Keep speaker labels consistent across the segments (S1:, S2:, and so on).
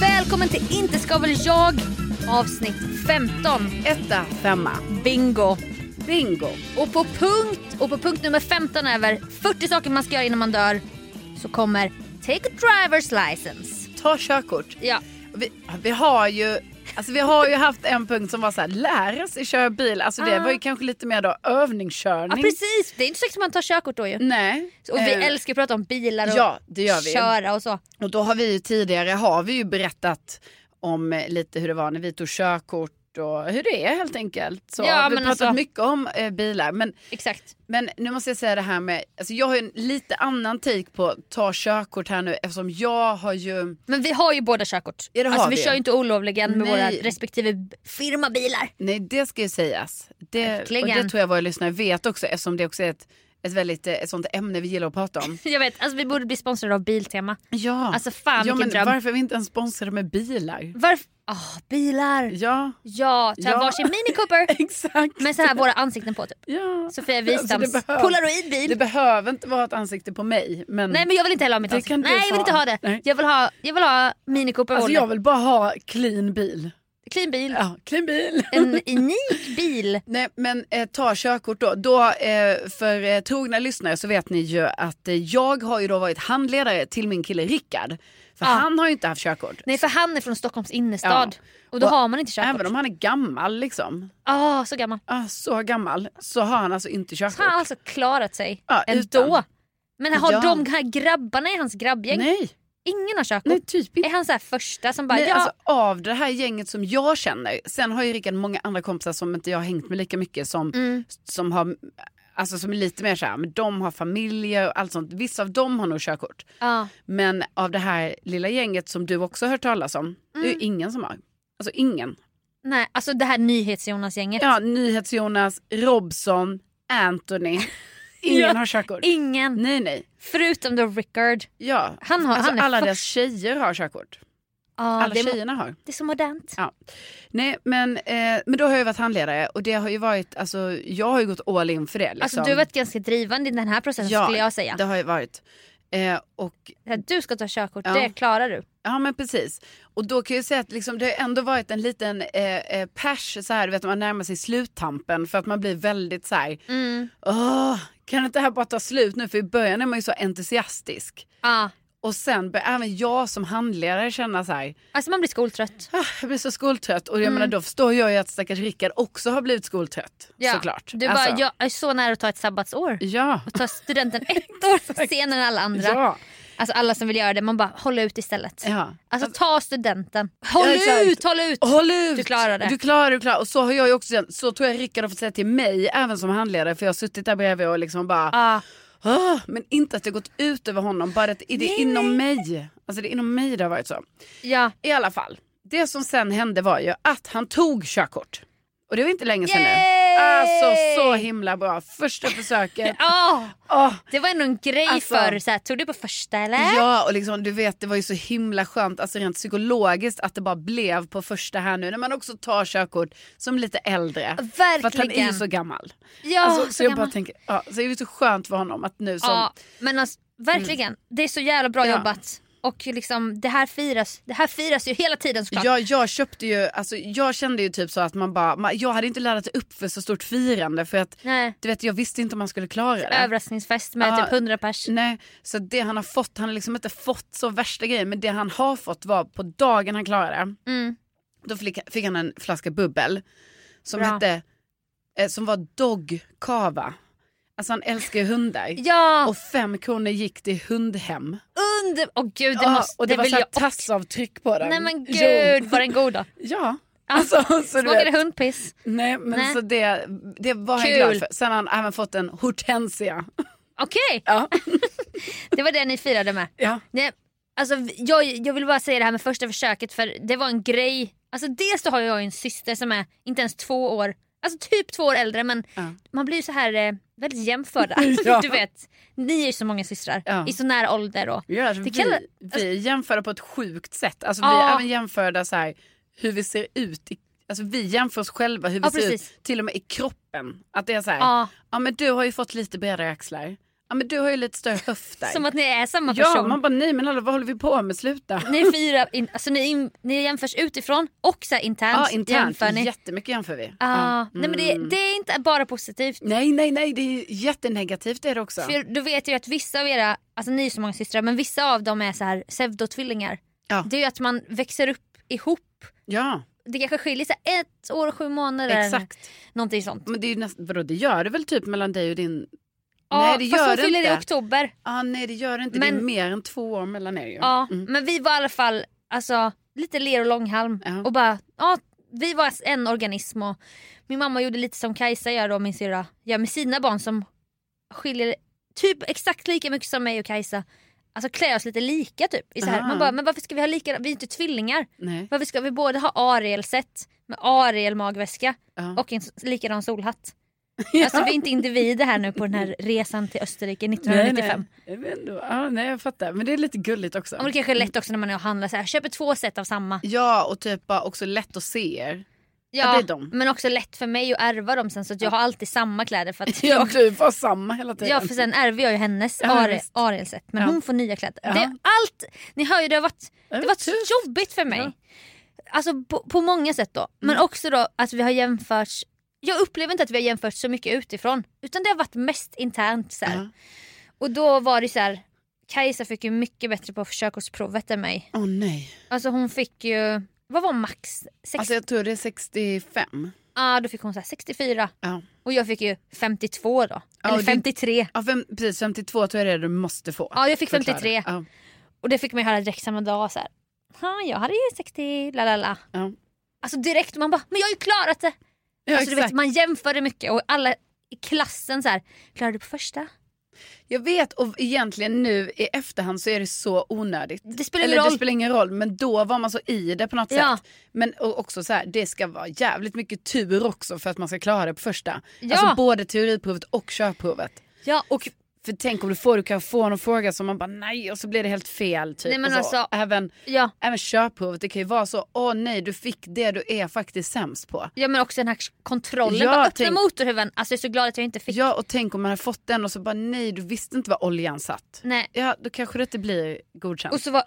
S1: Välkommen till Inte ska väl jag avsnitt 15.
S2: Etta, femma,
S1: Bingo.
S2: bingo.
S1: Och på punkt och på punkt nummer 15 över 40 saker man ska göra innan man dör så kommer Take a driver's license.
S2: Ta körkort.
S1: Ja.
S2: Vi, vi, har ju, alltså vi har ju haft en punkt som var så här, lära sig köra bil. Alltså det
S1: Ah.
S2: var ju kanske lite mer då
S1: ja,
S2: övningskörning.
S1: precis. Det är inte säkert att man tar körkort då ju.
S2: Nej.
S1: Och vi
S2: Eh,
S1: älskar att prata om bilar och
S2: ja, det gör vi.
S1: köra och så.
S2: Och då har vi ju tidigare har vi ju berättat om eh, lite hur det var när vi tog körkort och hur det är helt enkelt. Så
S1: Ja,
S2: vi har
S1: men
S2: pratat
S1: alltså-
S2: mycket om eh, bilar. Men
S1: Exakt.
S2: Men nu måste jag säga det här med, alltså jag har ju en lite annan take på att ta körkort här nu eftersom jag har ju,
S1: Men vi har ju båda körkort.
S2: Ja, det har
S1: alltså vi
S2: vi.
S1: kör ju inte olovligen med
S2: Nej.
S1: våra respektive b- firmabilar.
S2: nej det ska ju sägas. Det, och
S1: Verkligen.
S2: det tror jag våra lyssnare vet också eftersom det också är ett, ett väldigt, eh, ett sånt ämne vi gillar att prata om.
S1: Jag vet, alltså vi borde bli sponsrade av Biltema.
S2: Ja,
S1: Alltså, fan,
S2: ja
S1: vilken
S2: men
S1: dröm.
S2: varför är vi inte ens sponsrade med bilar?
S1: Varför? Ah, bilar!
S2: Ja,
S1: Ja, ta
S2: Ja.
S1: varsin Mini Cooper
S2: exakt.
S1: med så här våra ansikten på typ.
S2: ja.
S1: Sofia
S2: Alltså,
S1: Wistams
S2: det behövs.
S1: polaroidbil.
S2: Det behöver inte vara ett ansikte på mig men,
S1: Nej men jag vill inte heller ha mitt
S2: Mm. Det
S1: ansikte.
S2: kan du
S1: Nej jag vill
S2: ha.
S1: inte ha det.
S2: Nej.
S1: Jag vill ha, jag vill ha Mini Cooper
S2: alltså,
S1: Honda.
S2: jag vill bara ha clean bil.
S1: Clean bil.
S2: Ja, clean bil.
S1: En unik bil.
S2: Nej men eh, ta körkort då. då eh, för eh, trogna lyssnare så vet ni ju att eh, jag har ju då varit handledare till min kille Rickard. För
S1: Ja.
S2: han har ju inte haft körkort.
S1: Ah. Nej för han är från Stockholms innerstad.
S2: Ja.
S1: Och då
S2: Och
S1: har man inte
S2: Även
S1: körkort.
S2: om han är gammal liksom.
S1: Ah, så gammal.
S2: Ah, så gammal så har han alltså inte körkort.
S1: Så han har alltså klarat sig
S2: Ja,
S1: ändå.
S2: utan.
S1: Men har
S2: Ja.
S1: de här grabbarna i hans grabbgäng,
S2: Nej,
S1: ingen har körkort.
S2: nej typ inte.
S1: Är han så här första som bara
S2: Nej,
S1: ja,
S2: alltså, av det här gänget som jag känner, sen har ju Rickard många andra kompisar som inte jag har hängt med lika mycket som,
S1: Mm.
S2: som har Alltså som är lite mer såhär, men de har familjer och allt sånt. Vissa av dem har nog körkort.
S1: ja.
S2: Men av det här lilla gänget som du också har hört talas om, det är
S1: Mm.
S2: ju ingen som har. Alltså ingen.
S1: Nej, alltså det här nyhets-Jonas-gänget.
S2: Ja, NyhetsJonas, Robson, Anthony. Ingen
S1: Ja.
S2: har körkort.
S1: Ingen.
S2: Nej, nej.
S1: Förutom då Rickard.
S2: Ja.
S1: Han har-
S2: alltså,
S1: han är
S2: alla
S1: först.
S2: deras tjejer har körkort.
S1: Ja,
S2: Alla
S1: Ah, det, är,
S2: tjejerna har.
S1: det är så modernt.
S2: Ja. Nej, men, eh, men då har jag varit handledare och det har ju varit, alltså jag har ju gått all in för det. Liksom.
S1: Alltså, du har varit ganska drivande i den här processen
S2: ja,
S1: skulle jag säga.
S2: det har ju varit. Eh, och
S1: Det här, Du ska ta körkort,
S2: Ja.
S1: det klarar du.
S2: Ja men precis. Och då kan jag ju säga att liksom, det har ändå varit en liten eh, eh, pers så här, du vet man närmar sig sluttampen för att man blir väldigt så här,
S1: Mm.
S2: åh, kan inte det här bara ta slut nu? För i början är man ju så entusiastisk.
S1: Ja.
S2: Och sen börjar även jag som handledare känna så här,
S1: Alltså man blir skoltrött.
S2: ah, jag blir så skoltrött.
S1: Mm.
S2: Och jag menar då förstår jag ju att stackars Rickard också har blivit skoltrött.
S1: Ja.
S2: Såklart.
S1: Du
S2: Alltså,
S1: bara, jag är så nära att ta ett sabbatsår.
S2: Ja.
S1: Och ta studenten ett år senare än alla andra.
S2: Ja.
S1: Alltså alla som vill göra det, man bara håll ut istället.
S2: ja.
S1: Alltså ta studenten. Håll
S2: Ja, exakt.
S1: ut, håll ut!
S2: Håll ut!
S1: Du klarar det.
S2: Du klarar, du klarar. Och så har jag ju också känt, så tror jag Rickard har fått säga till mig även som handledare för jag har suttit där bredvid och liksom bara
S1: Ja.
S2: "Åh", men inte att det gått ut över honom, bara att det är inom mig. Alltså det är inom mig det har varit så.
S1: ja.
S2: I alla fall, det som sen hände var ju att han tog körkort. Och det var inte länge sedan
S1: Yay!
S2: nu. Alltså så himla bra. Första försöket.
S1: Ja,
S2: Åh.
S1: det var ändå en grej
S2: Alltså.
S1: förr. Så här, tog du på första eller?
S2: Ja och liksom, du vet det var ju så himla skönt alltså rent psykologiskt att det bara blev på första här nu när man också tar körkort som lite äldre. För att han är ju
S1: Verkligen.
S2: så gammal.
S1: Ja,
S2: alltså, så,
S1: så
S2: jag
S1: gammal.
S2: bara tänker, ja, så det är ju så skönt för honom att nu som, Mm.
S1: ja, men alltså, verkligen. Det är så jävla bra
S2: Ja.
S1: jobbat. Och liksom, det här firas Det här firas ju hela tiden såklart.
S2: Jag, jag köpte ju, alltså, jag kände ju typ så att man bara, man, jag hade inte laddat upp för så stort firande för att
S1: Nej.
S2: du vet jag visste inte om man skulle klara det.
S1: Överraskningsfest med
S2: Ja.
S1: typ 100 pers.
S2: Nej, så det han har fått, han har liksom inte fått så värsta grejen men det han har fått var på dagen han klarade det.
S1: Mm.
S2: Då fick, fick han en flaska bubbel som
S1: Bra.
S2: hette, eh, som var dog kava. Alltså han älskar ju hundar.
S1: Ja,
S2: Och fem kronor gick till hundhem.
S1: under... Åh gud, det
S2: Ja,
S1: måste...
S2: och det, var
S1: vill
S2: så här
S1: jag också.
S2: tassavtryck på den.
S1: Nej men
S2: Jo.
S1: gud, var den god då?
S2: Ja.
S1: Ja.
S2: Alltså, så du
S1: Smakade
S2: vet.
S1: hundpiss?
S2: Nej men
S1: Nej.
S2: så det, det var han
S1: Kul.
S2: glad för. Sen har han även fått en hortensia.
S1: Okej,
S2: Ja.
S1: det var det ni firade med.
S2: ja.
S1: Nej, alltså, jag, jag vill bara säga det här med första försöket för det var en grej. Alltså, dels så har jag ju en syster som är inte ens två år, alltså typ två år äldre men
S2: Ja.
S1: man blir ju så här eh, väldigt jämförda.
S2: Ja.
S1: Alltså, Du vet, ni är ju så många systrar
S2: Ja.
S1: i så nära ålder. Och,
S2: Ja, alltså,
S1: Det
S2: vi,
S1: kallar-
S2: vi jämför på ett sjukt sätt. Alltså, Vi
S1: Ja.
S2: är även jämförda så här, hur vi ser ut. I, alltså, vi jämför oss själva hur vi
S1: Ja,
S2: ser
S1: precis.
S2: ut. Till och med i kroppen. Att det är så här, ja.
S1: ja,
S2: men du har ju fått lite bredare axlar. Ja men du har ju lite större höfter.
S1: som att ni är samma person.
S2: ja man bara nej men alla, vad håller vi på med? Sluta.
S1: Ni är fyra, in, alltså ni, in, ni jämförs utifrån och så här internt.
S2: Ja internt,
S1: Jämför ni.
S2: jättemycket jämför vi.
S1: Ja,
S2: Ja. Mm.
S1: Nej, men det, det är inte bara positivt.
S2: Nej nej nej det är jättenegativt det är det också.
S1: För då vet jag ju att vissa av era, alltså ni är så många systrar men vissa av dem är så här pseudotvillingar.
S2: Ja.
S1: Det är ju att man växer upp ihop.
S2: Ja
S1: Det kanske skiljer sig ett år och sju månader.
S2: exakt.
S1: Någonting sånt.
S2: Men det, är ju nästan, vadå, det gör det väl typ mellan dig och din...
S1: Ja,
S2: nej det
S1: fast
S2: gör
S1: hon
S2: det
S1: fyller
S2: inte.
S1: i oktober.
S2: Ja, Ah, nej det gör det inte. det är
S1: Men-
S2: mer än två år mellan er ju.
S1: Ja.
S2: Mm.
S1: Men vi var i alla fall alltså, lite ler och långhalm.
S2: Ja.
S1: Och bara, ja, vi var en organism och min mamma gjorde lite som Kajsa gör då, min syrra, gör med sina barn som skiljer typ exakt lika mycket som mig och Kajsa. Alltså klär oss lite lika typ. I så här.
S2: Aha.
S1: Man bara, men varför ska vi ha lika, vi är ju inte tvillingar.
S2: Nej.
S1: Varför ska vi både ha Ariel-set med Ariel-magväska
S2: Ja.
S1: och en s- likadan solhatt? Alltså vi är inte individer här nu på den här resan till Österrike 1995.
S2: Nej, nej. Men ändå, ja, ah, nej jag fattar. Men det är lite gulligt också.
S1: Och det kanske är lätt också när man är och handlar så här, köper två set av samma.
S2: Ja och typ bara också lätt att se er. Ja, det är de.
S1: men också lätt för mig att ärva dem sen så att jag har alltid samma kläder för att
S2: Ja,
S1: jag,
S2: du var samma hela tiden.
S1: ja för sen ärver jag ju hennes
S2: Ja,
S1: Ari-
S2: visst.
S1: Ariel-set men
S2: Ja.
S1: hon får nya kläder.
S2: Ja.
S1: Det, allt, ni hör ju det har varit, det
S2: Ja,
S1: har varit så
S2: tufft.
S1: jobbigt för mig. Alltså på, på många sätt då. Men
S2: Mm.
S1: också då att vi har jämförts, jag upplever inte att vi har jämförts så mycket utifrån utan det har varit mest internt så här.
S2: Ja.
S1: Och då var det så här, Kajsa fick ju mycket bättre på körkortsprovet än mig.
S2: Åh nej.
S1: Alltså hon fick ju, vad var max? 60,
S2: Alltså jag tror det är 65.
S1: ah, då fick hon så här 64
S2: Ja.
S1: och jag fick ju 52 då.
S2: Ja,
S1: Eller
S2: och det-
S1: 53.
S2: Ja, fem, precis 52 tror jag det är du måste få.
S1: Ja, jag fick
S2: Förklara.
S1: 53.
S2: Ja,
S1: Och det fick man ju höra direkt samma dag. Så här, "Ja, jag hade ju 60, la la la.
S2: ja.
S1: Alltså direkt, man bara, men jag har ju klarat det!
S2: ja
S1: alltså, du
S2: exakt.
S1: vet, man jämförde mycket och alla i klassen så här, klarade du på första?
S2: Jag vet och egentligen nu i efterhand så är det så onödigt.
S1: Det spelar
S2: Eller
S1: ingen roll.
S2: det spelar ingen roll men då var man så i det på något
S1: Ja.
S2: sätt. Men och också så här, det ska vara jävligt mycket tur också för att man ska klara det på första.
S1: Ja.
S2: Alltså både teoriprovet och körprovet.
S1: Ja, och
S2: För tänk om du får, du kan få någon fråga som man bara nej och så blir det helt fel typ.
S1: Nej, men
S2: Och så
S1: alltså-
S2: även,
S1: ja.
S2: även körprovet, det kan ju vara så, åh nej du fick det du är faktiskt sämst på.
S1: Ja men också den här kontrollen,
S2: Ja,
S1: bara öppna
S2: tänk-
S1: motorhuven. Alltså jag är så glad att jag inte fick.
S2: Ja och tänk om man har fått den och så bara nej du visste inte vad oljan satt.
S1: Nej.
S2: Ja då kanske det inte blir godkänt.
S1: Mm. Och så var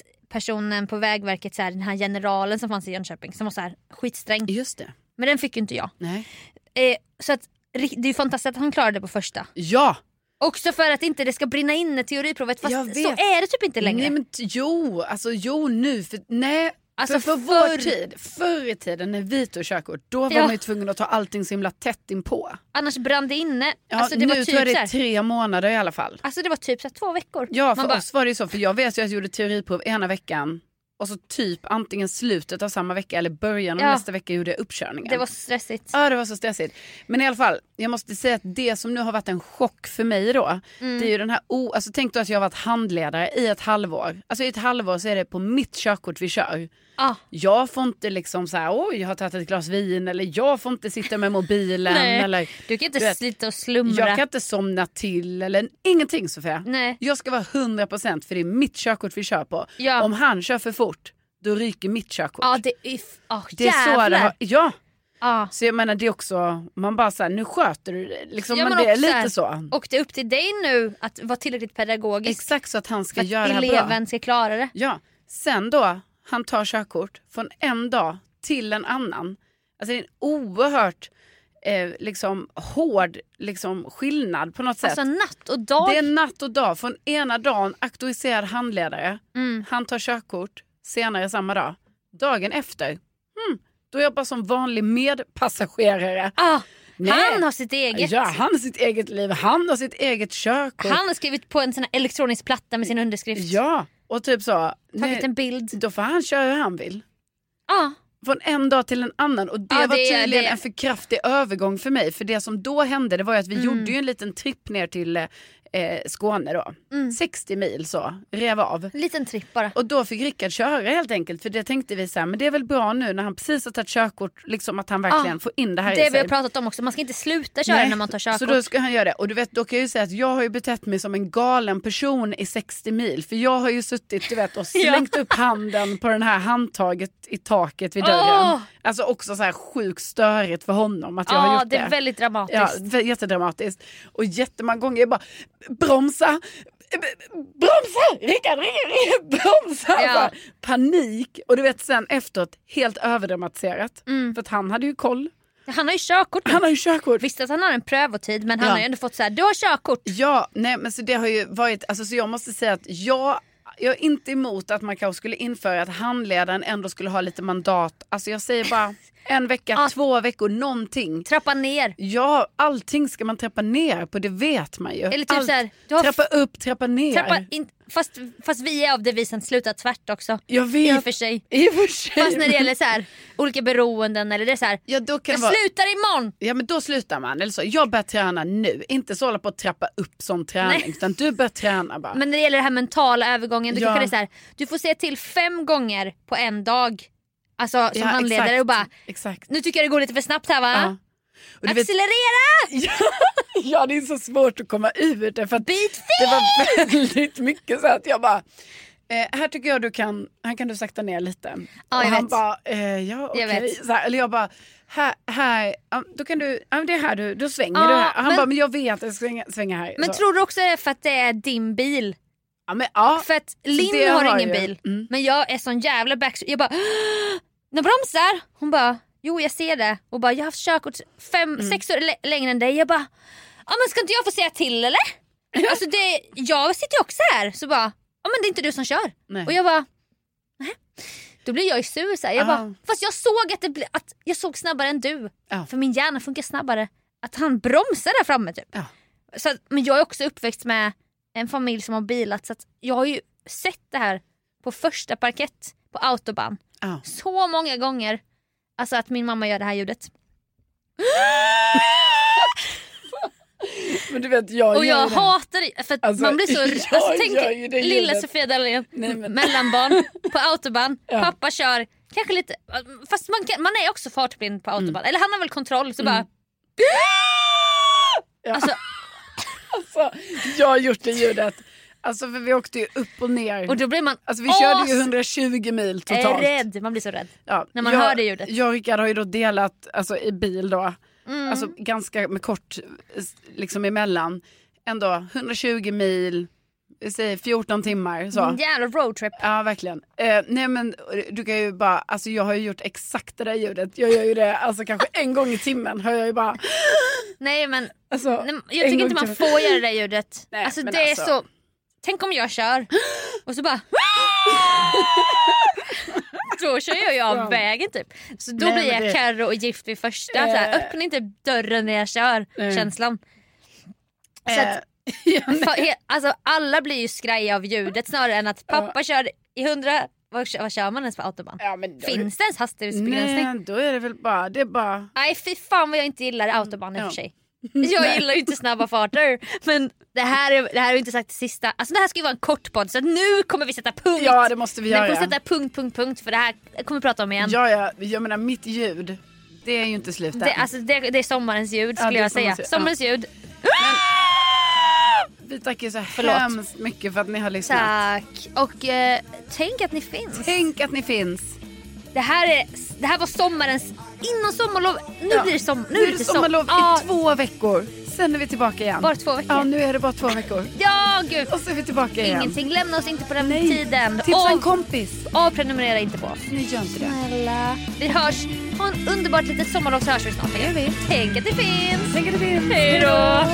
S1: uppkörningspersonen på Vägverket så här, den här generalen som fanns i Jönköping som var så här skitsträng.
S2: Just det.
S1: Men den fick ju inte jag.
S2: Nej.
S1: Eh, så att, ri- det är ju fantastiskt att han klarade det på första.
S2: Ja!
S1: Också för att inte det ska brinna inne teoriprovet fast
S2: Jag
S1: så
S2: vet.
S1: är det typ inte längre.
S2: Nej, men t- jo, alltså jo nu. För, nej,
S1: Alltså,
S2: för, för
S1: förr-
S2: vår tid, förr i tiden när vi tog körkort, då var
S1: Ja.
S2: man ju tvungen att ta allting så himla tätt inpå.
S1: Annars brann det inne.
S2: Ja,
S1: alltså, det
S2: nu
S1: var typ
S2: tror jag det
S1: så
S2: är
S1: här,
S2: tre månader i alla fall.
S1: alltså det var typ så här, två veckor.
S2: Ja, för
S1: Man bara,
S2: oss var det ju så, för jag vet ju att jag gjorde teoriprov ena veckan och så typ antingen slutet av samma vecka eller början av
S1: Ja.
S2: nästa vecka gjorde jag uppkörningen.
S1: det var så stressigt.
S2: Ja, det var så stressigt. Men i alla fall, jag måste säga att det som nu har varit en chock för mig då,
S1: Mm.
S2: det är ju den här, o, alltså tänk då att jag har varit handledare i ett halvår. Alltså i ett halvår så är det på mitt körkort vi kör.
S1: Ah,
S2: Jag får inte liksom så här, oj jag har tagit ett glas vin eller jag får inte sitta med mobilen.
S1: nej.
S2: eller,
S1: du kan inte
S2: du vet,
S1: sitta och slumra.
S2: jag kan inte somna till eller ingenting Sofia.
S1: Nej.
S2: Jag ska vara 100% för det är mitt körkort vi kör på.
S1: Ja.
S2: Om han kör för fort, då ryker mitt körkort.
S1: Ja, det är... f- ah,
S2: det är så det har, ja.
S1: Ja.
S2: Så jag menar det är också, man bara såhär nu sköter du det. liksom,
S1: Ja,
S2: men
S1: men
S2: det är
S1: också så här,
S2: lite så.
S1: Och det är upp till dig nu att vara tillräckligt pedagogisk
S2: Exakt så att han ska
S1: för att
S2: göra det här bra.
S1: eleven ska klara det.
S2: Ja, sen då han tar körkort från en dag till en annan. Alltså det är en oerhört eh, liksom, hård liksom, skillnad på något sätt.
S1: Alltså natt och dag.
S2: Det är natt och dag. Från ena dagen auktoriserad handledare,
S1: Mm.
S2: han tar körkort senare samma dag. Dagen efter, hmm, då jobbar som vanlig medpassagerare.
S1: ah,
S2: Nej.
S1: han har sitt eget.
S2: Ja, han har sitt eget liv, han har sitt eget körkort.
S1: Han har skrivit på en sån här elektronisk platta med sin underskrift.
S2: Ja, och typ så.
S1: Tagit en
S2: Nej,
S1: bild.
S2: då får han köra hur han vill.
S1: Ah,
S2: Från en dag till en annan och det
S1: Ja,
S2: var
S1: det är-
S2: tydligen
S1: det är-
S2: en för kraftig övergång för mig. För det som då hände det var ju att vi
S1: Mm.
S2: gjorde ju en liten tripp ner till eh, eh, Skåne då.
S1: Mm.
S2: 60 mil så, rev av.
S1: en liten tripp bara.
S2: Och då fick Rickard köra helt enkelt för det tänkte vi så här, men det är väl bra nu när han precis har tagit körkort, liksom att han verkligen
S1: Ah,
S2: får in det här i
S1: Det vi
S2: sig.
S1: har pratat om också, man ska inte sluta köra
S2: Nej,
S1: när man tar körkort.
S2: Så då ska han göra det. Och du vet, då kan jag ju säga att jag har ju betett mig som en galen person i 60 mil. För jag har ju suttit du vet, och slängt upp handen på den här handtaget i taket vid dörren.
S1: Åh!
S2: Alltså också så här sjukt störigt för honom att jag har
S1: Ja,
S2: gjort
S1: det
S2: det.
S1: är väldigt dramatiskt.
S2: Ja, vä- jättedramatiskt. Och jättemånga gånger jag bara bromsa, b- bromsa, Rickard, Rickard, Rickard, bromsa.
S1: Ja.
S2: Alltså, panik. Och du vet sen efteråt helt överdramatiserat.
S1: Mm.
S2: För att han hade ju koll.
S1: Han har ju körkort nu.
S2: Han har ju körkort.
S1: Visst att han har en prövotid men han
S2: Ja.
S1: har ju ändå fått så här, du har körkort.
S2: Ja, nej men så det har ju varit, alltså så jag måste säga att jag, jag är inte emot att man kanske skulle införa att handledaren ändå skulle ha lite mandat. Alltså jag säger bara en vecka,
S1: Ja.
S2: två veckor, någonting.
S1: Trappa ner.
S2: Ja, allting ska man trappa ner på, det vet man ju.
S1: Eller typ så här, du har
S2: trappa
S1: f-
S2: upp, trappa ner.
S1: Trappa in, fast, fast vi är av devisen sluta tvärt också.
S2: jag vet.
S1: I och för sig.
S2: I och för sig.
S1: Fast när det gäller så här, olika beroenden eller det är så här,
S2: Ja, då kan
S1: jag
S2: det vara...
S1: slutar imorgon.
S2: Ja men då slutar man. Eller så, jag börjar träna nu. Inte så hålla på att trappa upp som träning.
S1: Nej.
S2: Utan du börjar träna bara.
S1: Men när det gäller den här mentala övergången, du
S2: Ja.
S1: kanske det är så här, du får säga till fem gånger på en dag. Alltså som handledare
S2: exakt,
S1: och bara,
S2: Exakt.
S1: nu tycker jag det går lite för snabbt här va?
S2: Ja. Och du vet-
S1: Accelerera!
S2: Ja, ja, det är så svårt att komma ur det. För att
S1: Bit fel!
S2: det var väldigt mycket så att jag bara, eh, här tycker jag du kan, här kan du sakta ner lite.
S1: Ja,
S2: och
S1: jag
S2: han
S1: vet.
S2: bara, eh, ja okej.
S1: Jag vet.
S2: Så här, Eller jag bara, här, här ja, då kan du, ja, men det är här du, då svänger
S1: Ja,
S2: du här. Och Han
S1: men-
S2: bara, men jag vet att jag ska svänga, svänga här.
S1: Men
S2: så.
S1: tror du också det är för att det är din bil?
S2: ja, men, ja.
S1: För att
S2: det
S1: Linn har,
S2: har
S1: ingen
S2: jag.
S1: bil.
S2: Mm.
S1: Men jag är sån jävla backstreet. Jag bara De bromsar! Hon bara Jo jag ser det. Och bara jag har haft körkort fem,
S2: Mm.
S1: sex år lä- längre än dig. Jag bara Ja men ska inte jag få säga till eller? alltså det, jag sitter ju också här så bara Ja men det är inte du som kör.
S2: Nej.
S1: Och jag bara "Nähä." då blir jag ju sur så här. Jag
S2: Ah.
S1: bara, fast jag såg att, det ble, att jag såg snabbare än du.
S2: Ja.
S1: För min hjärna funkar snabbare. Att han bromsar där framme typ.
S2: Ja.
S1: Så att, men jag är också uppväxt med en familj som har bilat så att jag har ju sett det här på första parkett på autobahn
S2: Ja.
S1: så många gånger. Alltså att min mamma gör det här ljudet.
S2: Men du vet, jag
S1: Och
S2: gör
S1: jag
S2: ju det.
S1: hatar det för att
S2: Alltså,
S1: man blir så...
S2: jag
S1: Alltså,
S2: gör
S1: tänk
S2: ju det
S1: lilla
S2: ljudet.
S1: Sofia Dalén,
S2: Nej, men-
S1: mellanbarn på autobahn,
S2: Ja.
S1: pappa kör, kanske lite... Fast man, kan, man är också fartblind på autobahn,
S2: Mm.
S1: eller han har väl kontroll så bara...
S2: Ja.
S1: Alltså,
S2: Alltså, jag har gjort det ljudet. Alltså för vi åkte ju upp och ner.
S1: och då blir man
S2: Alltså vi körde ju
S1: as-
S2: 120 mil
S1: är
S2: totalt.
S1: rädd, man blir så rädd.
S2: Ja,
S1: När man
S2: jag,
S1: hör det ljudet. Mm.
S2: Jag och Rickard har ju då delat alltså, i bil då, alltså ganska med kort s- liksom emellan, ändå 120 mil, vi säger 14 timmar så.
S1: En jävla roadtrip.
S2: Ja verkligen. Eh, nej men du kan ju bara, alltså jag har ju gjort exakt det där ljudet, jag gör ju det alltså kanske en gång i timmen hör jag ju bara.
S1: Nej men
S2: Alltså,
S1: Nej, men
S2: en
S1: jag tycker
S2: gång
S1: inte
S2: i
S1: man
S2: timmen.
S1: får göra det där ljudet.
S2: Nej,
S1: alltså
S2: men
S1: det
S2: alltså.
S1: är så... Tänk om jag kör och så bara... Då kör jag ju av vägen typ. Så då
S2: Nej,
S1: blir
S2: men
S1: jag
S2: det- Eh.
S1: Carro och Gift vid första. Så här, öppna inte dörren när jag kör
S2: Nej.
S1: känslan. Så
S2: Eh,
S1: att, fa- he- alltså, alla blir ju skraja av ljudet snarare än att pappa kör i hundra... Vad, kö- vad kör man ens på autobahn?
S2: ja, men då,
S1: Finns det ens hastighetsbegränsning?
S2: Nej då är det väl bara, det är bara
S1: Nej fy fan vad jag inte gillar autobahn i och
S2: Mm, Ja.
S1: för sig. Jag gillar ju inte snabba farter. Men det här, är, det här är ju inte sagt det sista. Alltså det här ska ju vara en kort podd så att nu kommer vi sätta punkt.
S2: Ja, det måste vi
S1: Vi
S2: göra.
S1: kommer sätta punkt, punkt, punkt för det här kommer vi prata om igen.
S2: Ja, ja, jag menar mitt ljud. Det är ju inte slut än.
S1: det, alltså, det, det är sommarens ljud skulle
S2: det är
S1: jag säga.
S2: sommarens ljud.
S1: Sommarens ljud.
S2: Vi tackar så
S1: Förlåt.
S2: hemskt mycket för att ni har lyssnat.
S1: Tack. Och eh, tänk att ni finns.
S2: Tänk att ni finns.
S1: Det här, är, det här var sommarens... Innan sommarlov. Nu
S2: Ja.
S1: blir det, som,
S2: Nu är det
S1: som-
S2: sommarlov
S1: Ja,
S2: i två veckor. Sen är vi tillbaka igen.
S1: Bara två veckor?
S2: Ja, nu är det bara två veckor.
S1: Ja, gud.
S2: Och så är vi tillbaka igen.
S1: Ingenting. Lämna oss inte på den
S2: Nej.
S1: tiden.
S2: Tipsa en
S1: Och-
S2: kompis.
S1: Och prenumerera inte på oss.
S2: Ni gör inte det.
S1: Snälla. Vi hörs. Ha en underbart litet sommarlov så hörs vi snart igen. Tänk att det finns.
S2: Tänk att det finns.
S1: Hej då.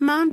S3: Mom